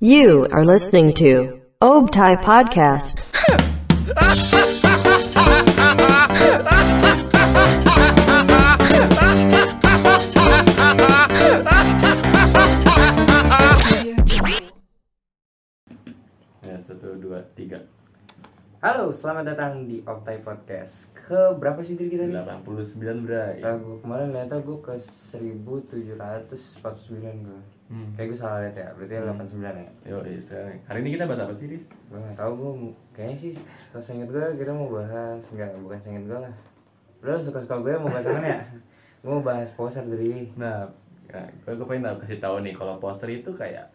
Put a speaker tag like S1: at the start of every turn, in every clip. S1: You are listening to Obtai Podcast.
S2: Ya, satu, dua, tiga.
S3: Halo, selamat datang di Optai Podcast. Ke berapa sih diri kita nih?
S2: 89 berai.
S3: Lagu kemarin ternyata gue ke 1749 gue.
S2: Hmm.
S3: Kayak gue salah lihat ya, berarti 89 ya.
S2: Yo, sekarang. Hari ini kita bahas apa sih, Riz?
S3: Gue nggak tahu gue kayaknya sih setelah seinget gue kita mau bahas enggak bukan seinget gue lah. Udah lah, suka-suka gue mau bahas apa ya? Gue mau bahas poster dari
S2: Nah, ya, gue, gue pengen tahu- kasih tahu nih kalau poster itu kayak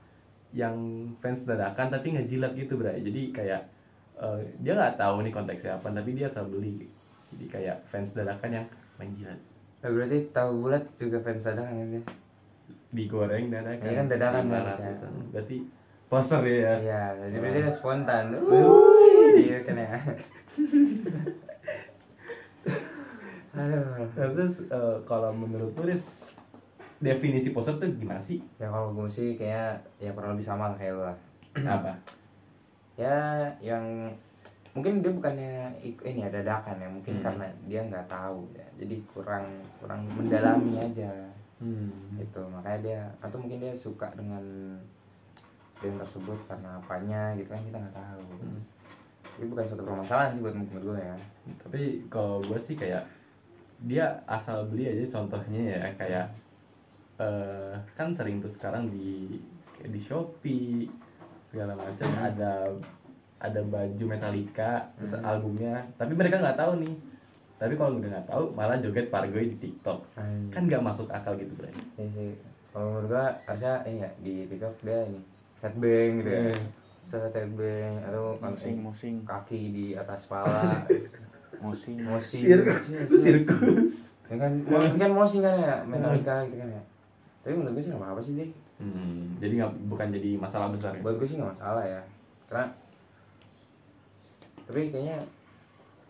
S2: yang fans dadakan tapi ngejilat gitu, Bray. Jadi kayak eh, dia nggak tahu nih konteksnya apa, tapi dia asal beli. Jadi kayak fans dadakan yang menjilat
S3: Nah, berarti tahu bulat juga fans dadakan kan dia.
S2: digoreng dadakan.
S3: Iya kan, dadakan kan,
S2: Ibarat
S3: ya.
S2: gitu. Berarti poster ya.
S3: Iya, jadi berarti
S2: Wah.
S3: dia spontan. Wuih, gitu kan ya. Aduh.
S2: Nah, terus eh, kalau menurut tulis definisi poster tuh gimana sih?
S3: Ya kalau gue sih kayaknya ya kurang lebih sama lah kayak lu lah.
S2: apa?
S3: Ya yang mungkin dia bukannya ik- ini ada dadakan ya mungkin
S2: Hmm.
S3: karena dia nggak tahu ya jadi kurang kurang mendalami aja
S2: Hmm.
S3: gitu makanya dia atau mungkin dia suka dengan brand tersebut karena apanya gitu kan kita nggak tahu
S2: Hmm.
S3: ini bukan suatu permasalahan sih buat menurut gue ya
S2: tapi kalau gue sih kayak dia asal beli aja contohnya ya kayak eh kan sering tuh sekarang di kayak di Shopee segala macam ada ada baju Metallica terus
S3: Hmm.
S2: albumnya tapi mereka nggak tahu nih tapi kalau udah nggak tahu malah joget pargoy di TikTok
S3: kan
S2: kan nggak masuk akal gitu bro
S3: Iya sih kalau menurut gue harusnya ini ya di TikTok dia ini headbang gitu ya
S2: Iya.
S3: Misalnya headbang atau
S4: Mosing, mosing,
S3: kaki di atas pala
S4: mosing.
S3: Mosi
S2: Iya, itu sirkus
S3: Ya kan, mungkin kan Mosi kan ya, Metallica
S2: Iya.
S3: gitu kan ya Tapi menurut gue sih gak apa-apa sih deh
S2: hmm, jadi nggak bukan jadi masalah besar ya?
S3: Buat gue sih gak masalah ya Karena Tapi kayaknya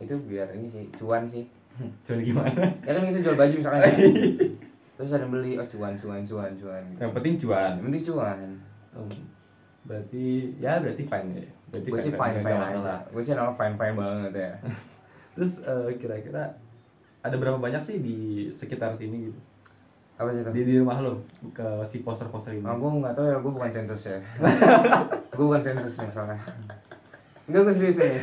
S3: Itu biar ini sih, cuan sih
S2: cuman gimana
S3: Ya kan kita jual baju misalkan ya Terus ada yang beli, oh cuan, cuan, cuan, cuan gitu.
S2: yang penting jualan
S3: Yang penting cuan
S2: Hmm. berarti ya berarti fine ya berarti
S3: Gue sih
S2: fine-fine
S3: fine-fine
S2: aja.
S3: aja Gue sih nama fine-fine banget ya
S2: terus eh, kira-kira ada berapa banyak sih di sekitar sini gitu
S3: Apa sih itu?
S2: di, di rumah lo ke si poster-poster ini
S3: Oh, gue gak tau ya, gue bukan sensus ya Gue bukan sensus nih soalnya Enggak, gue serius nih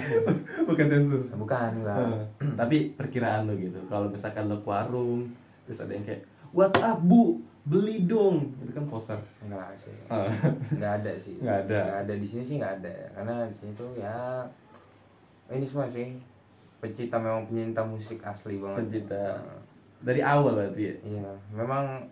S2: bukan sensus
S3: Bukan, enggak
S2: Eh, tapi perkiraan lo gitu kalau misalkan lo ke warung terus ada yang kayak WhatsApp bu beli dong itu kan poster
S3: Enggak sih.
S2: Eh,
S3: Enggak ada sih.
S2: Nggak ada.
S3: Nggak ada di sini sih enggak ada. Karena di sini tuh ya ini semua sih pecinta memang penyinta musik asli banget.
S2: Pencinta.
S3: Nah,
S2: dari awal berarti ya?
S3: Iya, memang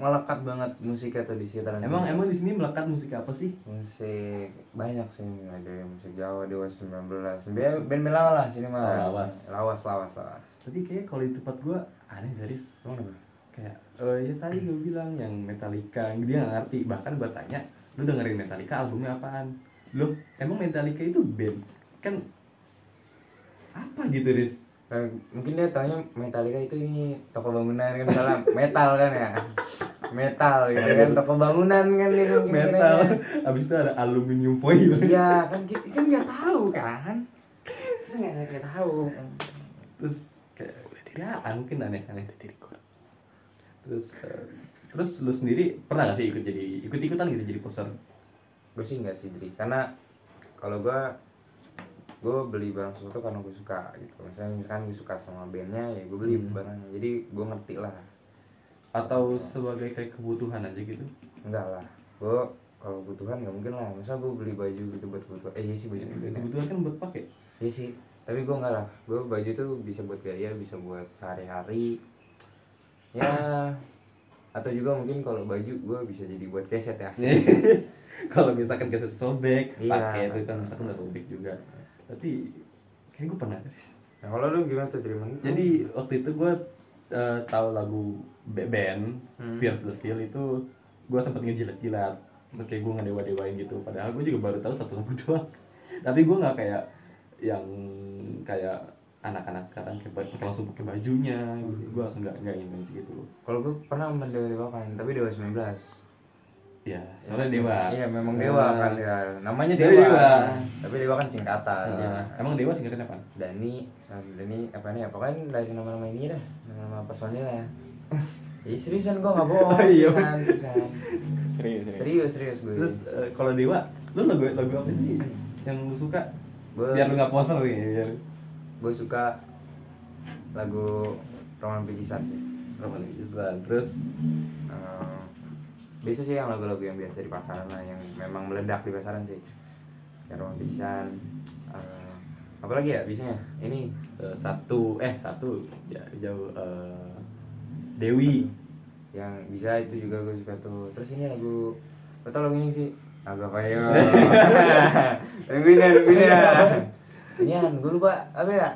S3: melekat banget musiknya tuh di sekitaran
S2: emang
S3: sini.
S2: emang di sini melekat musik apa sih
S3: musik banyak sih ada musik Jawa Dewa 19 band band lawas lah sini mah
S2: Oh, lawas.
S3: lawas lawas lawas
S2: tapi kayak kalau di tempat gua aneh dari
S3: Emang kenapa?
S2: kayak eh ya tadi gue bilang yang Metallica yang dia nggak ngerti bahkan gue tanya lu dengerin Metallica albumnya apaan lu emang Metallica itu band kan apa gitu Riz
S3: Nah, mungkin dia taunya Metallica itu ini toko bangunan kan misalnya metal kan ya metal gitu kan toko bangunan kan dia mungkin
S2: metal
S3: kiranya.
S2: abis itu ada aluminium foil
S3: iya kan kita kan nggak tahu kan kita nggak nggak tahu
S2: terus kayak ya ah, mungkin aneh aneh terus eh, terus lu sendiri pernah gak sih ikut jadi ikut ikutan gitu jadi poster
S3: gue sih nggak sih beli karena kalau gue gue beli barang sesuatu karena gue suka gitu misalnya misalkan gue suka sama bandnya ya gue beli
S2: Hmm.
S3: barangnya jadi gue ngerti lah
S2: atau sebagai kayak kebutuhan aja gitu
S3: enggak lah gue kalau kebutuhan nggak mungkin lah masa gue beli baju gitu buat kebutuhan eh iya sih baju gitu kan
S2: kebutuhan kan buat pakai
S3: Iya sih, tapi gue enggak lah. Gue baju tuh bisa buat gaya, bisa buat sehari-hari. Ya, atau juga mungkin kalau baju gue bisa jadi buat keset ya.
S2: kalau misalkan keset sobek
S3: Iya.
S2: pakai itu kan misalkan udah sobek juga tapi kayak gue pernah Riz.
S3: Nah, kalau lu gimana tuh dari mana?
S2: jadi waktu itu gue tahu lagu ba- band
S3: Hmm.
S2: Pierce the Veil itu gue sempet ngejilat-jilat kayak gue ngedewa dewain gitu padahal gue juga baru tahu satu lagu doang tapi gue nggak kayak yang kayak anak-anak sekarang kayak pakai langsung pakai
S3: Hmm.
S2: bajunya gitu. gue langsung nggak nggak intens gitu loh
S3: kalau gue pernah mendewa-dewakan, tapi dewa 19.
S2: ya soalnya dewa
S3: Iya memang dewa
S2: Nah,
S3: kan ya. Namanya
S2: Dewa.
S3: dewa. Tapi dewa kan singkatan.
S2: nah,
S3: ya.
S2: emang dewa singkatan apa
S3: Dani, um, Dani apa nih? Pokoknya dari nama-nama ini dah, nama-nama personil ya. Ih seriusan gue nggak bohong.
S2: Oh, iya.
S3: seriusan, seriusan.
S4: serius serius
S3: Serius serius gue.
S2: terus eh, kalau dewa lu lagu lagu apa sih yang lu suka
S3: Gua-
S2: biar lu nggak poser nih biar
S3: Gue suka lagu Roman Pikisan sih.
S2: romantisan terus
S3: Ehm, biasa sih yang lagu-lagu yang biasa di pasaran lah, yang memang meledak di pasaran sih. Kayak Roman Pikisan. Ehm, apa lagi ya biasanya? Ini
S2: eh, satu eh satu ja- jauh eh, dewi
S3: yang bisa itu juga gue suka tuh terus ini lagu lo tau lagu ya? ini sih agak payo lagunya lagunya ya, ini an gue lupa apa ya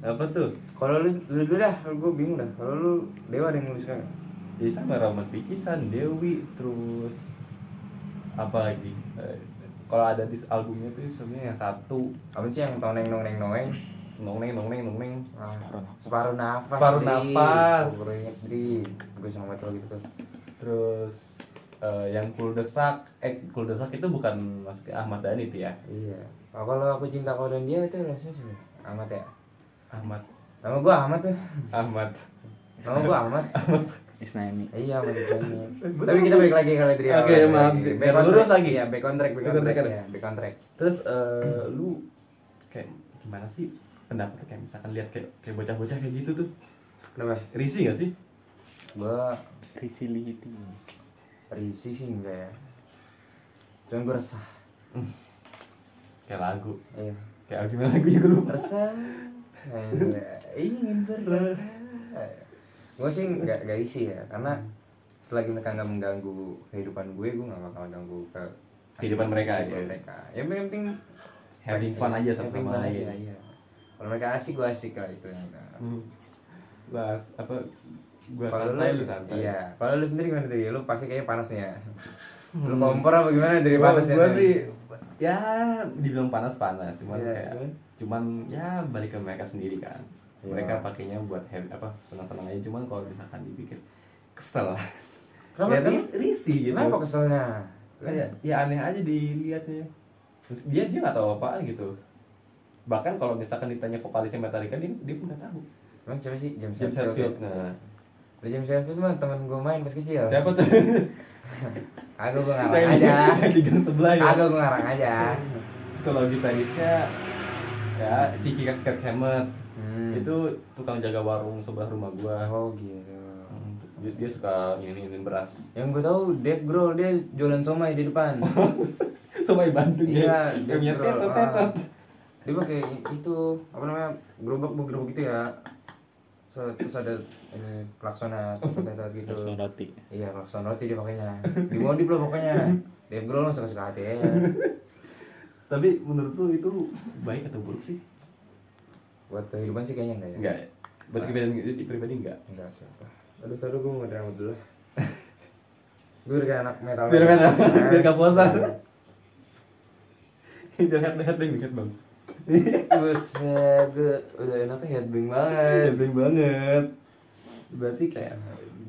S2: apa tuh
S3: kalau lu lu dulu dah gue bingung dah kalau lu dewa ada yang kan? lu suka nggak?
S2: ya sama Rahmat Pikisan, Dewi, terus apa lagi? Eh, kalau ada di albumnya tuh sebenarnya yang satu
S3: apa sih yang toneng noneng noneng
S2: nongneng nongneng nongneng
S3: Ah, separuh nafas
S2: Separuh
S3: Dri.
S2: nafas.
S3: gue baru inget dri gue sama banget kalau gitu tuh
S2: terus eh, yang kuldesak eh kuldesak itu bukan maksudnya Ahmad Dhani tuh ya
S3: iya Oh, kalau aku cinta kau dan dia itu rasanya sih Ahmad ya
S2: Ahmad
S3: nama gue Ahmad tuh
S2: Ahmad
S3: nama gue Ahmad
S4: Isnaini
S3: Iya manusianya.
S2: Eh, Betul
S3: Tapi kita
S2: sih.
S3: balik lagi ke Ledria.
S2: Oke,
S3: Balik
S2: maaf.
S3: lagi.
S2: Biar
S3: on
S2: lurus
S3: track.
S2: lagi.
S3: Iya, back on track, back
S2: Back
S3: on
S2: on
S3: track.
S2: track,
S3: ya, back on track.
S2: terus eh, lu kayak gimana sih pendapat lu kayak misalkan lihat kayak kayak bocah-bocah kayak gitu tuh
S3: Kenapa?
S2: risih gak sih
S3: Gue
S4: Risiliti
S3: risih sih enggak ya. Cuman gue resah.
S2: kayak lagu
S3: Iya.
S2: kayak gimana lagunya gue lupa
S3: Resah. eh, Ingin berlari. Gue sih enggak enggak isi ya, karena selagi mereka nggak mengganggu kehidupan gue, gue nggak bakal ganggu ke
S2: Kehidupan mereka,
S3: kehidupan
S2: iya.
S3: mereka. Ya yang penting
S2: having fun aja sama
S3: Having
S2: sama
S3: fun
S2: lagi
S3: aja, iya. Kalau mereka asik, gue asik lah istilahnya.
S2: Hmm. Lah, apa gua
S3: Kalau
S2: santai lu santai.
S3: Iya. Kalau lu sendiri gimana tadi? Lu pasti kayaknya panas nih ya. Lu kompor apa gimana dari
S2: Hmm. Gua,
S3: panas ya?
S2: gua
S3: Dri?
S2: sih ya dibilang panas-panas cuman
S3: Iya,
S2: kayak
S3: cuman?
S2: cuman ya balik ke mereka sendiri kan.
S3: Iya.
S2: Mereka pakainya buat happy, apa senang-senang aja cuman kalau misalkan dipikir kesel lah.
S3: Kenapa
S2: ya,
S3: kesel?
S2: ris- risih gitu.
S3: Kenapa keselnya?
S2: Kayak, ya aneh aja dilihatnya. Terus dia dia nggak tahu apaan gitu. Bahkan kalau misalkan ditanya vokalisnya Metallica dia dia pun nggak tahu.
S3: Emang siapa sih? James
S2: James
S3: Hetfield.
S2: Hetfield. Nah,
S3: Lu James Hetfield mah temen gue main pas kecil.
S2: siapa tuh? Nah,
S3: Aku gue ngarang
S2: Yang di-
S3: aja.
S2: yang di gang sebelah ya.
S3: Aku gue ngarang aja.
S2: Terus kalau gitarisnya ya si Kikak Kirk Hammett
S3: Hmm.
S2: itu tukang jaga warung sebelah rumah gua
S3: Oh gitu.
S2: Hmm, dia, dia suka nginin beras
S3: Yang gue tahu Dave Grohl dia jualan somai di depan.
S2: sama Bandung ya.
S3: Iya,
S2: dia punya
S3: Dave Grohl.
S2: tetot
S3: Ah.
S2: tetot
S3: Dia pakai itu apa namanya? Gerobak bu gerobak gitu ya. So, terus ada ini klaksonnya tetot-tetot gitu.
S4: terus roti
S3: Iya, klakson roti dia pakainya. Di modif lah pokoknya. Dave Grohl langsung suka hati aja.
S2: tapi menurut lu itu baik atau buruk sih
S3: Buat kehidupan sih kayaknya enggak ya.
S2: enggak ya? buat pribadi pribadi enggak
S3: Enggak sih. apa. Aduh, taruh gue mau ngadain rambut dulu. gue udah kayak anak metal.
S2: Biar metal, biar gak bosan.
S3: Yes.
S2: jangan lihat deh dikit bang
S3: Buset, gue udah enaknya headbang banget.
S2: Headbang Iya, banget berarti kayak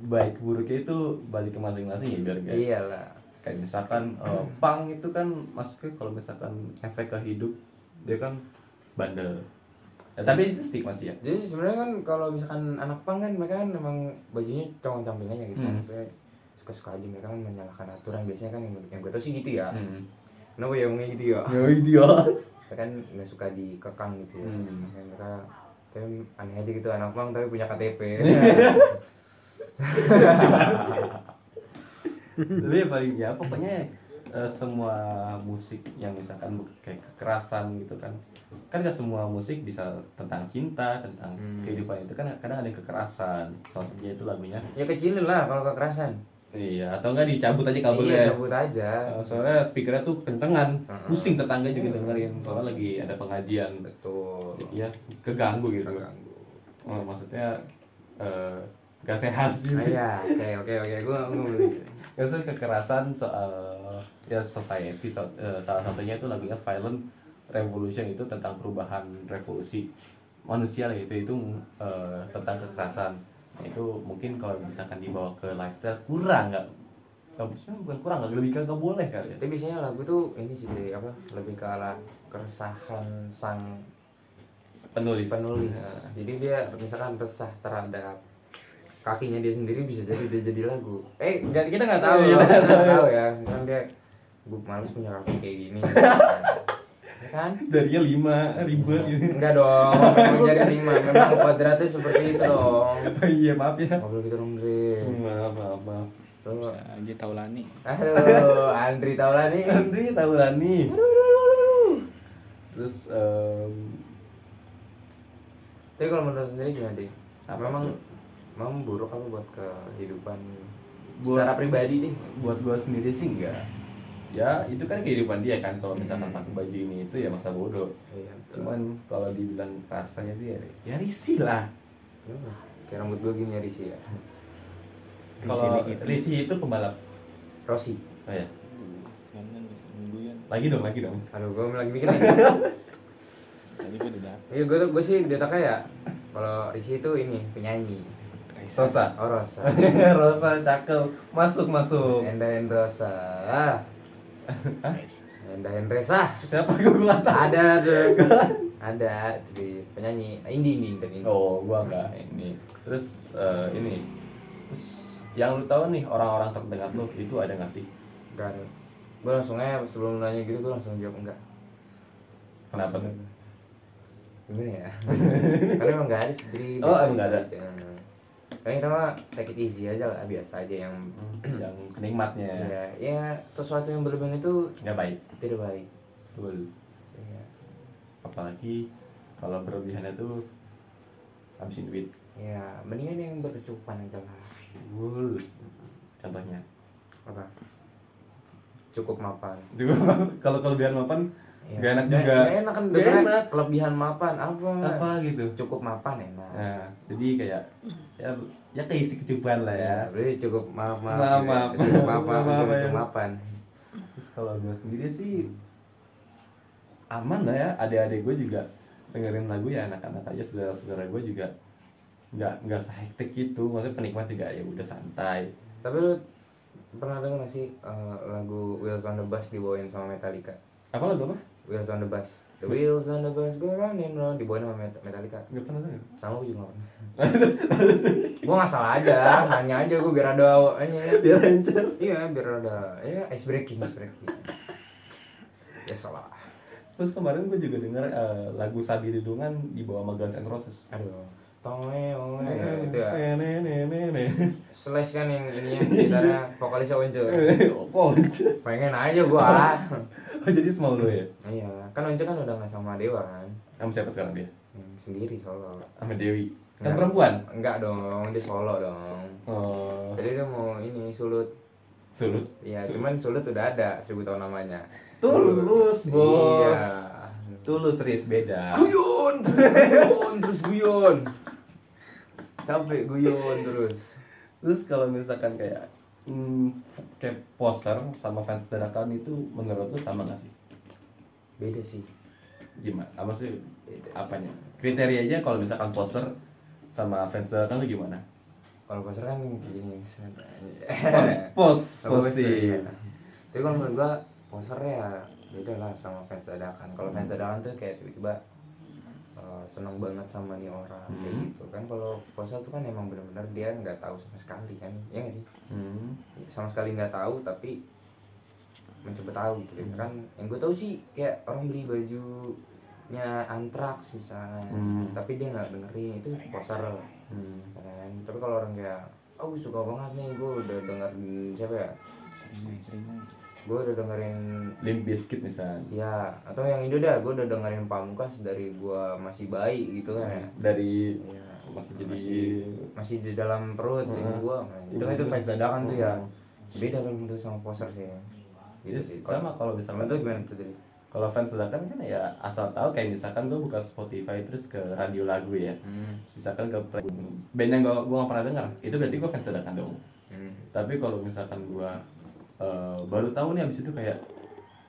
S2: baik buruknya itu balik ke masing-masing ya biar enggak
S3: Iyalah.
S2: kayak misalkan eh, pang itu kan masuknya kalau misalkan efek ke hidup dia kan bandel ya, tapi itu stigma sih ya
S3: Jadi sebenarnya kan kalau misalkan anak pang kan mereka kan emang bajunya cong camping aja gitu.
S2: Hmm.
S3: Maksudnya suka-suka aja mereka kan menyalahkan aturan biasanya kan yang, yang gue tau sih gitu ya.
S2: hmm.
S3: Kenapa ya ngomongnya gitu ya?
S2: ya dia
S3: mereka kan nggak suka dikekang gitu ya
S2: Hmm.
S3: Makanya mereka tapi aneh aja gitu anak bang tapi punya KTP
S2: tapi ya paling ya pokoknya eh, semua musik yang misalkan bu- kayak kekerasan gitu kan kan gak semua musik bisa tentang cinta tentang
S3: Hmm.
S2: kehidupan itu kan kadang ada yang kekerasan salah satunya itu lagunya
S3: ya kecilin lah kalau kekerasan
S2: iya atau enggak dicabut aja kabelnya
S3: iya cabut aja
S2: Eh, soalnya speakernya tuh kentengan
S3: Heeh.
S2: pusing tetangga juga dengerin soalnya lagi ada pengajian
S3: betul
S2: ya keganggu gitu
S3: terganggu
S2: Oh, maksudnya eh gak sehat
S3: ah,
S2: gitu
S3: ya oke oke oke gua gua mau beli.
S2: ya soal kekerasan soal ya society so- eh, salah satunya itu lagunya Violent Revolution itu tentang perubahan revolusi manusia lah gitu. itu itu eh, tentang kekerasan Nah, itu mungkin kalau misalkan dibawa ke lifestyle kurang nggak Kalau bukan kurang, nggak lebih ke nggak boleh kali ya.
S3: tapi biasanya lagu tuh ini sih dari apa lebih ke ala keresahan sang
S2: Penulis. Iya.
S3: penulis Ah, jadi dia misalkan resah terhadap kakinya dia sendiri bisa jadi dia jadi lagu eh nggak- kita nggak tahu
S2: Iya,
S3: loh,
S2: iya.
S3: kita nggak tahu ya misalkan dia gue males punya kaki kayak gini Ya kan
S2: Jarinya lima ribet gitu.
S3: enggak dong memang jari lima memang kuadratnya seperti itu dong
S2: Iya maaf ya.
S3: ngobrol gitu dong Dre
S2: Maaf maaf maaf.
S3: Tuh.
S4: Bisa aja Taulani.
S3: aduh Andri Taulani
S2: Andri Taulani. Terus em,
S3: tapi kalau menurut sendiri gimana deh
S2: Apa
S3: memang
S2: tuh?
S3: memang buruk apa buat kehidupan
S2: Buat-
S3: secara pribadi deh
S2: buat gue sendiri sih enggak. Ya itu kan kehidupan dia kan kalau misalkan pakai baju ini itu ya masa bodoh.
S3: iya betul.
S2: Cuman kalau dibilang rasanya dia ya risih lah.
S3: Hmm, kayak rambut gue gini ya Risi ya
S2: Kalau
S4: Risih dikit.
S2: risih itu pembalap.
S3: Rosi
S2: Oh ya.
S4: Jangan mingguan.
S2: Lagi dong lagi dong.
S3: aduh gue lagi mikir nih
S4: Tadi gue udah dapet.
S3: iya gue tuh gue sih dia ya kalau Risi itu ini penyanyi
S4: Raisa.
S2: Rosa.
S3: oh Rosa
S2: Rosa cakep. Masuk masuk.
S3: Enda Hendrosa Ah,
S4: Raisa.
S3: Enda Hendresa
S2: Siapa gue nggak tahu.
S3: ada tuh ada di penyanyi indie indie dan indie
S2: Oh, gua enggak ini. Terus eh, ini. Terus yang lu tahu nih orang-orang terdekat lu itu ada nggak sih?
S3: enggak ada gue langsung aja sebelum nanya gitu gue langsung jawab enggak
S2: Kenapa
S3: Langsung
S2: tuh?
S3: aja. gimana ya karena emang enggak ada sendiri
S2: Oh, emang nggak ada?
S3: karena kita mah take it easy aja lah biasa aja yang
S2: yang nikmatnya
S3: ya, ya sesuatu yang berlebihan itu
S2: nggak baik.
S3: tidak baik
S2: Betul.
S3: ya,
S2: Apalagi kalau berlebihannya tuh habisin duit.
S3: ya mendingan yang berkecupan aja lah
S2: Wul. Contohnya.
S3: apa cukup mapan
S2: Juga kalau kelebihan mapan
S3: Ya.
S2: nggak enak
S3: Nggak-
S2: juga.
S3: nggak enak kan Iya.
S2: Nggak
S3: dengar
S2: enak.
S3: kelebihan mapan apa
S2: Apa gitu.
S3: cukup mapan enak
S2: Nah, jadi kayak ya ya keisi kecupan lah ya.
S3: ya berarti cukup maaf maaf
S2: Maaf,
S3: gitu ya.
S2: maaf.
S3: cukup maaf maaf
S2: Maaf,
S3: cukup,
S2: ya.
S3: cukup mapan
S2: Terus kalau gue sendiri sih aman lah ya, adik-adik gue juga dengerin lagu ya anak-anak aja saudara-saudara gue juga nggak nggak sehektik gitu maksudnya penikmat juga ya udah santai
S3: tapi lu pernah denger nggak sih eh, lagu Wheels on the Bus dibawain sama Metallica
S2: apa lagu apa
S3: Wheels on the Bus The Wheels on the Bus go round and round dibawain sama Met- Metallica
S2: nggak pernah denger
S3: sama gue juga nggak pernah gue nggak salah aja nanya aja gue biar ada ini
S2: biar encer
S3: iya biar ada ya ice breaking ice breaking ya salah
S2: terus kemarin gue juga denger eh, lagu Sabi Dudungan di bawah sama Guns N' Roses Nah,
S3: aduh eh, tonge
S2: Eh,
S3: onge itu ya Slash kan yang ininya gitarnya vokalisnya Once.
S2: kok gitu?
S3: Pengen aja gua.
S2: oh jadi small lo ya
S3: iya, kan Once kan udah nggak sama Dewa kan.
S2: sama siapa sekarang dia
S3: Yang sendiri solo.
S2: sama Dewi
S3: Nggak.
S2: kan perempuan
S3: Enggak dong, dia solo dong.
S2: oh
S3: Jadi dia mau ini sulut.
S2: sulut
S3: Iya,
S2: Sulut.
S3: cuman sulut udah ada seribu tahun namanya.
S2: Tulus, bos.
S3: Iya.
S2: tulus serius beda
S3: Guyon, terus guyon, terus guyon. Capek guyon terus.
S2: Terus kalau misalkan kayak hmm, kayak poster sama fans dadakan itu menurut lu sama gak sih?
S3: Beda sih.
S2: Gimana? Apa sih?
S3: Beda sih.
S2: Apanya? Kriterianya kalau misalkan poster sama fans dadakan lu gimana?
S3: Kalau poster kan gini. set.
S2: Eh, Pos,
S3: Kalau
S2: pos
S3: sih.
S2: sih.
S3: Tapi kalau menurut gua poser ya beda lah sama fans dadakan. Kalau
S2: Hmm.
S3: fans dadakan tuh kayak tiba-tiba uh, seneng banget sama nih orang kayak
S2: Hmm.
S3: gitu kan. Kalau poser tuh kan emang bener-bener dia nggak tahu sama sekali kan, ya nggak sih?
S2: Hmm.
S3: Sama sekali nggak tahu tapi mencoba tahu gitu
S2: Hmm.
S3: kan. Yang gue tahu sih kayak orang beli bajunya antrax misalnya,
S2: Hmm.
S3: tapi dia nggak dengerin itu poser
S2: Hmm.
S3: kan. Tapi kalau orang kayak oh suka banget nih gue udah denger siapa ya
S4: Seringai, seringai.
S3: gue udah dengerin
S2: Limp Bizkit misalnya.
S3: ya atau yang itu dah gue udah dengerin pamungkas dari gue masih bayi gitu kan ya
S2: Dari
S3: Iya.
S2: masih jadi Iya.
S3: masih di dalam perut
S2: Heeh.
S3: ibu gue itu kan
S2: Ibu
S3: itu
S2: gua.
S3: fans dadakan tuh ya
S2: Heeh.
S3: beda kan menurut sama poser sih gitu
S2: Iya,
S3: sih
S2: sama kalau misalkan-
S3: menurut gimana tuh tadi
S2: kalau fans dadakan kan ya asal tahu kayak misalkan gue buka Spotify terus ke radio lagu ya. Terus misalkan ke play- band yang gue gak pernah dengar, itu berarti gue fans dadakan dong.
S3: Hmm.
S2: tapi kalau misalkan gua eh, baru tahu nih abis itu kayak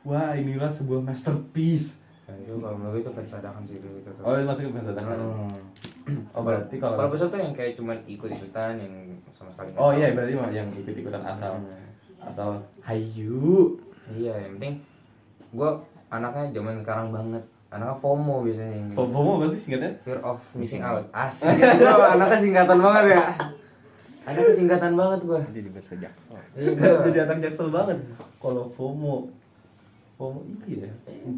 S2: wah inilah sebuah masterpiece
S3: Nah, itu kalau menurut gua itu fans dadakan sih kayak gitu tuh
S2: oh masuk ke bahasa Dadakan.
S3: Hmm.
S2: oh berarti kalau
S3: kalau poser tuh yang kayak cuman ikut ikutan yang sama sekali nggak
S2: oh
S3: tahu.
S2: iya berarti mah yang ikut ikutan asal
S3: Hmm.
S2: asal
S3: Hayu. Iya, yang penting gua anaknya zaman sekarang banget. Anaknya FOMO biasanya. yang- gitu.
S2: FOMO apa sih singkatnya?
S3: Fear of missing out. Asik. Gua anaknya singkatan banget ya. Anaknya singkatan banget gua.
S4: Jadi bahasa Jaksel.
S3: Iya.
S2: Jadi anak jaksel banget. Kalau FOMO, FOMO iya.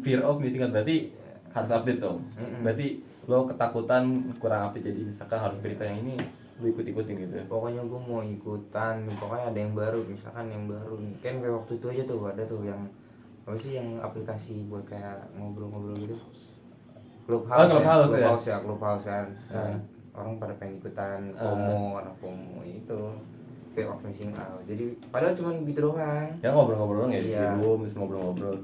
S2: Fear of missing out berarti harus update dong.
S3: Mm-mm.
S2: Berarti lo ketakutan kurang update jadi misalkan harus berita yang ini lo ikut ikutin gitu.
S3: pokoknya gue mau ikutan pokoknya ada yang baru misalkan yang baru nih kan kayak waktu itu aja tuh ada tuh yang apa sih yang aplikasi buat kayak ngobrol-ngobrol gitu clubhouse,
S2: Oh, Clubhouse ya?
S3: ya clubhouse ya, clubhouse kan
S2: Hmm.
S3: orang pada pengen ikutan
S2: Eh.
S3: FOMO orang FOMO itu fear of missing out jadi padahal cuma gitu doang
S2: Ya ngobrol-ngobrol nggak
S3: Iya.
S2: ya di room, terus ngobrol-ngobrol.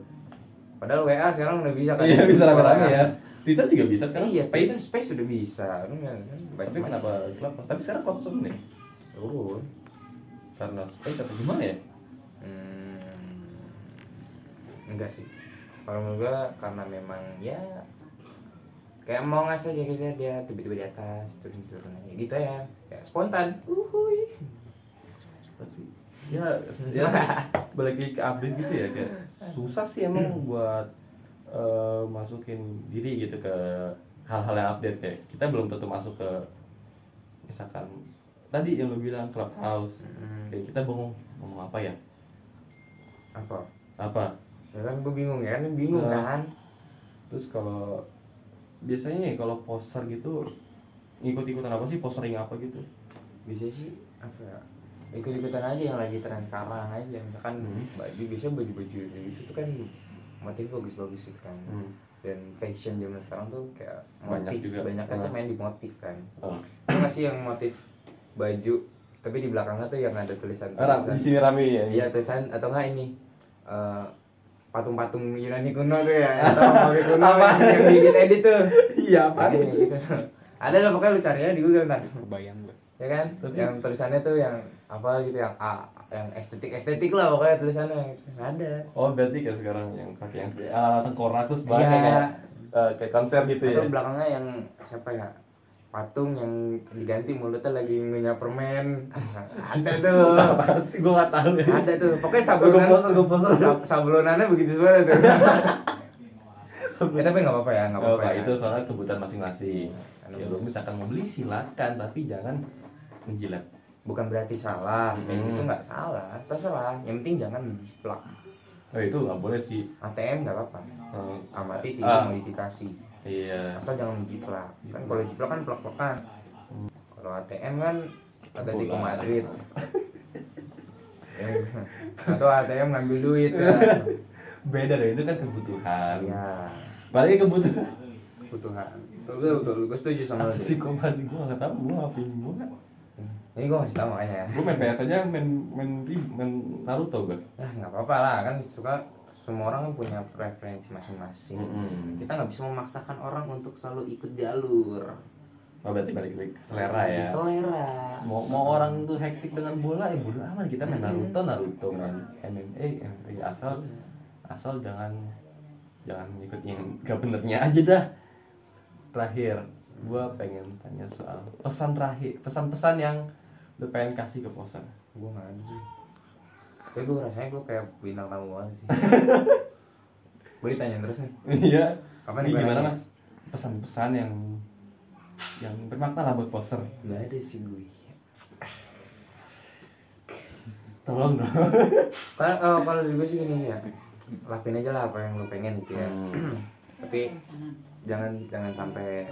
S3: padahal WA sekarang udah bisa kan
S2: Iya bisa rame-rame
S3: Orang-
S2: ya. Twitter juga bisa sekarang.
S3: iya space
S2: space.
S3: space udah bisa Lu nggak- kan banyak
S2: Tapi kenapa club? Tapi sekarang club Zoom nih.
S3: turun
S2: Karena space atau gimana ya?
S3: Hmm, enggak sih. Kalau menurut gua karena memang ya kayak mau ngasih aja gitu dia tiba-tiba di atas turun-turun aja gitu ya. Kayak spontan. Uhuy.
S2: Tapi, ya, ya balik lagi ke update gitu ya kayak susah sih emang buat eh, masukin diri gitu ke hal-hal yang update kayak kita belum tentu masuk ke misalkan tadi yang lo bilang clubhouse
S3: Hmm.
S2: kayak kita bingung ngomong apa ya
S3: Apa?
S2: apa
S3: Ya kan gua bingung ya kan lu bingung
S2: Nah.
S3: kan.
S2: terus kalau biasanya ya kalau poster gitu ngikut-ikutan apa sih posting apa gitu
S3: Bisa sih apa ya? Ikut-ikutan aja yang lagi tren sekarang aja misalkan
S2: Hmm.
S3: baju biasanya baju-baju itu tuh kan motif bagus-bagus itu kan.
S2: Hmm.
S3: Dan fashion zaman sekarang tuh kayak
S2: Banyak
S3: motif,
S2: juga.
S3: banyak kan
S2: Nah.
S3: tuh main di motif kan.
S2: Oh.
S3: Lu kasih yang motif baju tapi di belakangnya tuh yang ada tulisan
S2: Orang Eh, di sini rame ya
S3: iya tulisan atau enggak ini eh, patung-patung Yunani kuno tuh ya atau Romawi kuno yang, yang diedit edit tuh
S2: iya
S3: Ada yang gitu ada lah pokoknya lu cari aja di Google ntar
S4: Kebayang gue.
S3: ya kan
S2: Tapi-
S3: yang tulisannya tuh yang apa gitu yang A yang estetik estetik lah pokoknya tulisannya Nggak ada
S2: Oh berarti kayak sekarang yang pakai yang ah, tengkorak terus banyak
S3: Iya.
S2: kayak eh, kayak konser gitu ya.
S3: atau belakangnya yang siapa ya patung yang diganti mulutnya lagi ngunyah permen ada tuh
S2: Apaan sih gue gak tahu. ya.
S3: ada tuh pokoknya
S2: Gua
S3: sablonan
S2: poster, gua poster.
S3: sab- sablonannya begitu semua tuh Eh, tapi nggak apa-apa ya nggak
S2: Nggak
S3: apa-apa
S2: apa
S3: ya.
S2: Oh, itu soalnya kebutuhan masing-masing.
S3: Karena
S2: Ya lu misalkan mau beli silakan tapi jangan menjilat.
S3: bukan berarti salah kayak
S2: Hmm.
S3: gitu nggak salah terserah yang penting jangan jiplak
S2: Oh itu nggak boleh sih.
S3: ATM nggak apa-apa
S2: Eh,
S3: Hmm, amati tidak
S2: Ah.
S3: modifikasi
S2: iya.
S3: asal jangan jiplak kan kalau jiplak kan plak-plakan kalau ATM kan Atletico
S2: Bola.
S3: Madrid Eh, atau ATM ngambil duit ya
S2: Beda deh itu kan kebutuhan.
S3: ya
S2: Balik ke kebutuhan.
S3: kebutuhan betul betul, betul gue setuju sama
S2: Pasti
S3: lu
S2: gue mati gue nggak tahu gue ngapain gue.
S3: ini gue ngasih tau makanya
S2: Gue main PS aja main main ri- main Naruto gue.
S3: ya nggak apa-apa lah kan suka semua orang kan punya preferensi masing-masing
S2: Mm-mm.
S3: kita nggak bisa memaksakan orang untuk selalu ikut jalur
S2: Oh berarti balik lagi ke selera ya.
S3: Di selera
S2: mau mau orang tuh hektik dengan bola ya bola amat kita main Naruto Naruto main MMA MMA asal asal jangan jangan ikut yang gak benernya aja dah terakhir gua pengen tanya soal pesan terakhir pesan-pesan yang lu pengen kasih ke poser
S3: gue nggak ada sih tapi gue rasanya gue kayak bintang tamu banget sih boleh tanya terus nih
S2: iya
S3: Kapan
S2: ini
S3: gua
S2: gimana
S3: nanya?
S2: mas pesan-pesan yang yang bermakna lah buat poser
S3: nggak ada sih gue
S2: tolong dong
S3: kalau eh, kalau dari gue sih gini ya lakuin aja lah apa yang lo pengen gitu ya tapi jangan jangan sampai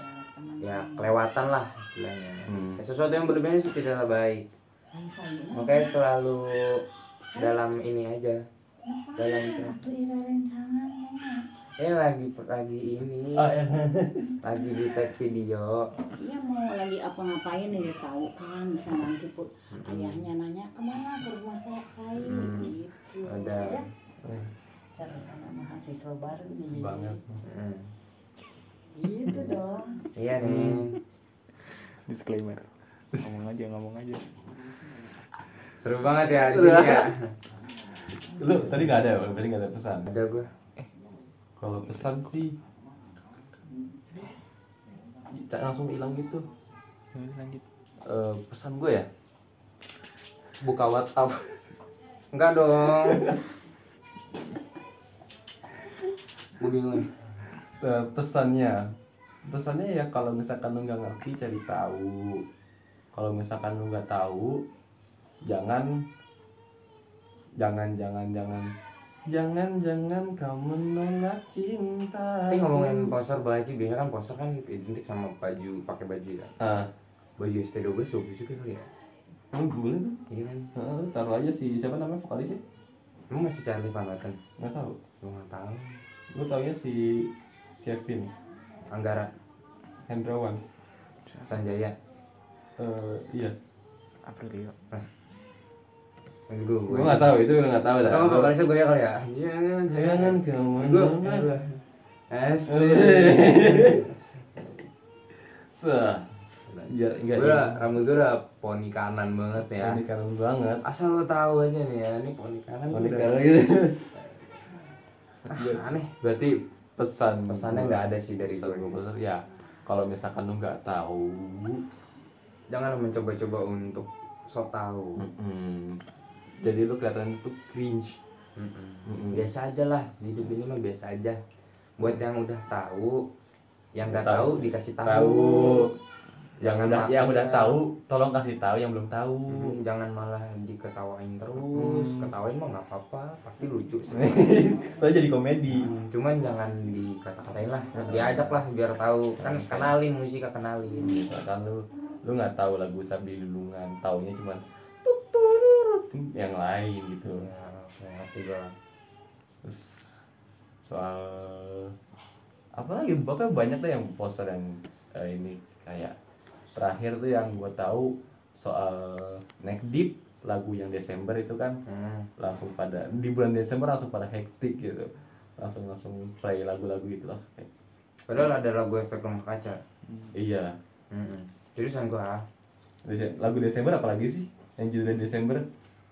S3: ya kelewatan lah istilahnya
S2: Hmm.
S3: Ya, sesuatu yang berlebihan itu tidaklah baik
S5: Iya,
S3: makanya selalu dalam ini aja dalam
S5: Waktu irarin tangan enak.
S3: eh lagi lagi ini
S2: Ah, ya.
S3: lagi di tag video
S5: Dia mau lagi apa ngapain dia tahu kan bisa nanti pun ayahnya nanya kemana ke rumah kakak
S3: Hmm.
S5: gitu.
S3: Ada.
S5: Ya, cara anak mahasiswa baru nih.
S2: banget
S3: Hmm.
S5: Gitu dong.
S3: iya nih
S4: Disclaimer. Ngomong aja, ngomong aja.
S3: seru banget ya di sini ya
S2: lu tadi gak ada ya? berarti gak ada pesan
S3: ada gue
S2: Kalau pesan sih Cak langsung hilang gitu.
S4: Lanjut.
S2: Eh, pesan gue ya. Buka WhatsApp.
S3: Enggak dong. Gue bingung.
S2: Eh, pesannya pesannya ya kalau misalkan lu nggak ngerti cari tahu kalau misalkan lu nggak tahu jangan jangan jangan jangan jangan jangan kau menolak cinta
S3: Tapi
S2: Hmm.
S3: ngomongin poster baju, biasanya kan poster kan identik sama baju, pakai baju ya.
S2: ah
S3: Baju ST12 bagus juga kali ya.
S2: lu boleh tuh
S3: Iya kan?
S2: Ah, lu taruh aja si siapa namanya vokalisnya
S3: Emang masih Charlie Van Houten?
S2: nggak tahu
S3: Gue nggak tahu.
S2: lu taunya si Kevin
S3: Anggara,
S2: Hendrawan
S3: Sanjaya.
S2: Eh, iya
S4: Aprilio
S3: Yang Gue
S2: gue nggak tahu itu udah nggak tahu dah
S3: Atau nggak vokalisnya gue ya kali ya? Jangan,
S2: jangan kau
S3: Gue,
S2: menolak
S3: gue.
S2: Asik. Seh. Biar enggak
S3: Gue udah, rambut gue udah poni kanan banget ya.
S2: Ini kangen banget.
S3: Asal lo tahu aja nih ya, ini poni kanan.
S2: Unik
S3: udah-
S2: banget gitu.
S3: Ah, aneh.
S2: Berarti pesan
S3: Pesannya
S2: gua-
S3: nggak ada sih dari
S2: pesan
S3: gue.
S2: gua pesan, ya kalau misalkan lu nggak tahu
S3: Jangan mencoba-coba untuk sok tahu.
S2: Hmm. mm-mm. jadi lu kelihatan itu cringe Mm-mm.
S3: Biasa aja lah, di hidup ini mah biasa aja. Buat yang udah tahu, yang nggak
S2: Tahu.
S3: tahu dikasih tahu.
S2: yang
S3: Jangan
S2: udah yang
S3: makanya.
S2: udah tahu tolong kasih tahu yang belum tahu
S3: Hmm, Jangan malah diketawain terus.
S2: Hmm.
S3: Ketawain mah nggak apa-apa, pasti lucu sih.
S2: Lo jadi komedi
S3: Cuman jangan dikata-katain lah, diajak lah biar tahu. Kan kenalin musika kenalin.
S2: misalkan lu lu nggak tahu lagu Sabdi Lulungan taunya cuman yang lain gitu
S3: Ya, oke, ngerti gua.
S2: terus soal apa lagi pokoknya banyak deh yang poster yang eh, ini kayak terakhir tuh yang gue tahu soal Neck Deep lagu yang Desember itu kan
S3: Hmm.
S2: langsung pada di bulan Desember langsung pada hektik gitu langsung langsung play lagu-lagu itu langsung kayak
S3: Padahal ada lagu efek rumah kaca.
S2: iya
S3: Mm-mm. Jurusan gua
S2: Dese- lagu Desember apalagi sih yang judulnya Desember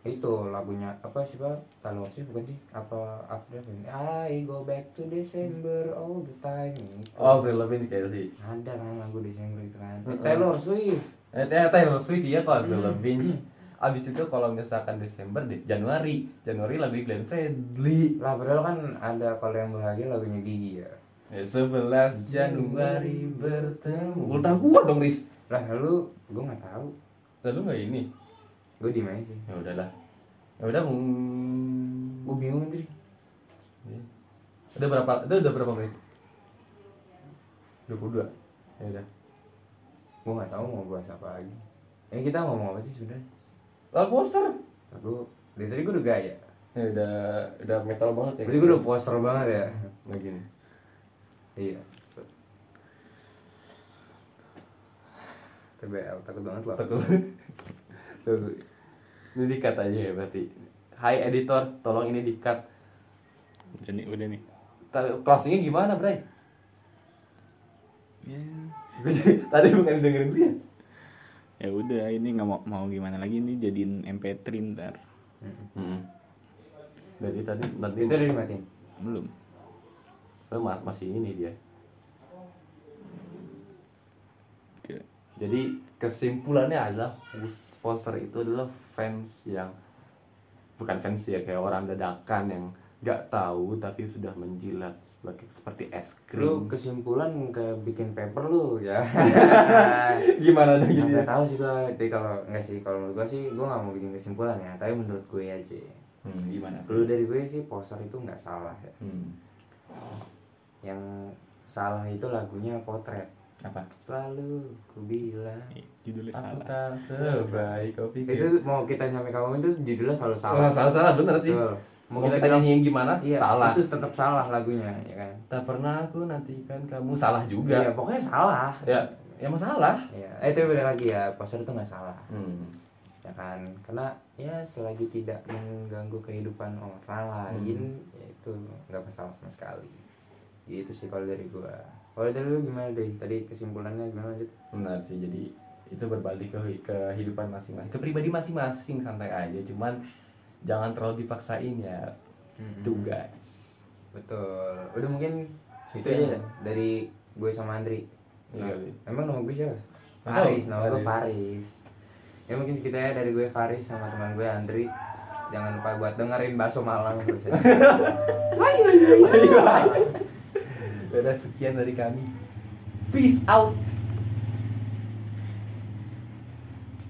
S3: itu lagunya apa sih pak? Tahu sih bukan sih? Apa April Lavigne? I go back to December all the time. Itu.
S2: oh Avril Lavigne kayak sih
S3: Ada kan lagu Desember itu kan.
S2: Mm-mm.
S3: Taylor Swift.
S2: Eh, Taylor Taylor Swift ya kalau Avril
S3: Hmm.
S2: Lavigne. Abis itu kalau misalkan Desember, De- Januari, Januari lagu Glenn Fredly.
S3: Lah padahal kan ada kalau yang bahagia lagunya Gigi ya.
S2: Eh,
S3: Hmm.
S2: 11 Januari bertemu. Udah gua dong, Riz.
S3: Lah lalu gua nggak tahu.
S2: Lalu nggak ini?
S3: Gua di mana sih?
S2: Ya udahlah. Ya udah
S3: Gua
S2: mung.
S3: bingung tadi.
S2: Iya. Udah berapa? Itu udah berapa menit? 22. Ya udah.
S3: Gua nggak tahu mau bahas apa lagi. Eh kita ngomong apa sih sudah?
S2: Lah poster.
S3: Aku dari tadi gua udah gaya.
S2: Ya udah udah metal banget ya. Nah,
S3: Berarti gua udah poster banget ya.
S2: begini.
S3: Iya. TBL takut banget loh.
S2: Takut. Tuh, tuh. Ini di-cut aja ya berarti. Hai editor, tolong ini di-cut.
S4: Udah nih udah nih
S2: Tadi closingnya gimana, Bray?
S4: Ya
S2: Tadi bukan dengerin dia.
S4: Ya udah ini nggak mau mau gimana lagi ini jadiin MP3 ntar
S2: Berarti tadi nanti
S3: Itu udah dimatiin.
S4: Belum
S2: Oh, ma- masih ini dia.
S4: Ke-
S2: Jadi kesimpulannya adalah pos- poster itu adalah fans yang bukan fans ya kayak orang dadakan yang nggak tahu tapi sudah menjilat sebagai seperti es krim.
S3: Lu kesimpulan kayak bikin paper lu ya.
S2: Gimana dong gitu
S3: Enggak
S2: ya?
S3: tahu Iya. sih gua. Tapi kalau enggak sih kalau menurut gua sih gua nggak mau bikin kesimpulan ya, tapi menurut gue aja.
S2: Hmm, gimana?
S3: Kalau dari gue sih poster itu nggak salah ya.
S2: Hmm,
S3: Yang salah itu lagunya potret.
S2: apa?
S3: Selalu ku bilang
S4: eh, Judulnya
S2: Aku tak
S4: salah
S2: sebaik kau pikir.
S3: itu mau kita nyampe kamu itu judulnya Iya. selalu
S2: salah
S3: salah.
S2: salah salah bener sih.
S3: Betul.
S2: Mau kita nyanyiin gimana?
S3: Iya,
S2: salah.
S3: Itu tetap salah lagunya, ya kan?
S2: Tak pernah aku nantikan kamu salah
S3: Iya,
S2: juga.
S3: pokoknya salah.
S2: Ya, ya masalah.
S3: Iya, eh tapi balik lagi ya, poster itu nggak salah,
S2: Hmm.
S3: ya kan? Karena ya selagi tidak mengganggu kehidupan orang lain,
S2: Hmm.
S3: ya itu nggak masalah sama sekali. Gitu sih kalau dari gua. Kalau dari lu gimana deh? Tadi kesimpulannya gimana lanjut?
S2: Benar sih. Jadi itu berbalik ke kehidupan masing-masing, ke pribadi masing-masing santai aja. Cuman jangan terlalu dipaksain ya. Tuh guys.
S3: Betul. Iya. Udah mungkin itu
S2: Sekian.
S3: aja dah dari gue sama Andri.
S2: Iya
S3: Nah,
S2: kali.
S3: Emang nama gue siapa?
S2: Nggak
S3: Faris,
S2: tahu.
S3: nama gue
S2: Faris.
S3: Faris. Ya mungkin sekitarnya dari gue Faris sama teman gue Andri. jangan lupa buat dengerin bakso malang terus ya.
S2: Udah sekian dari kami. Peace out.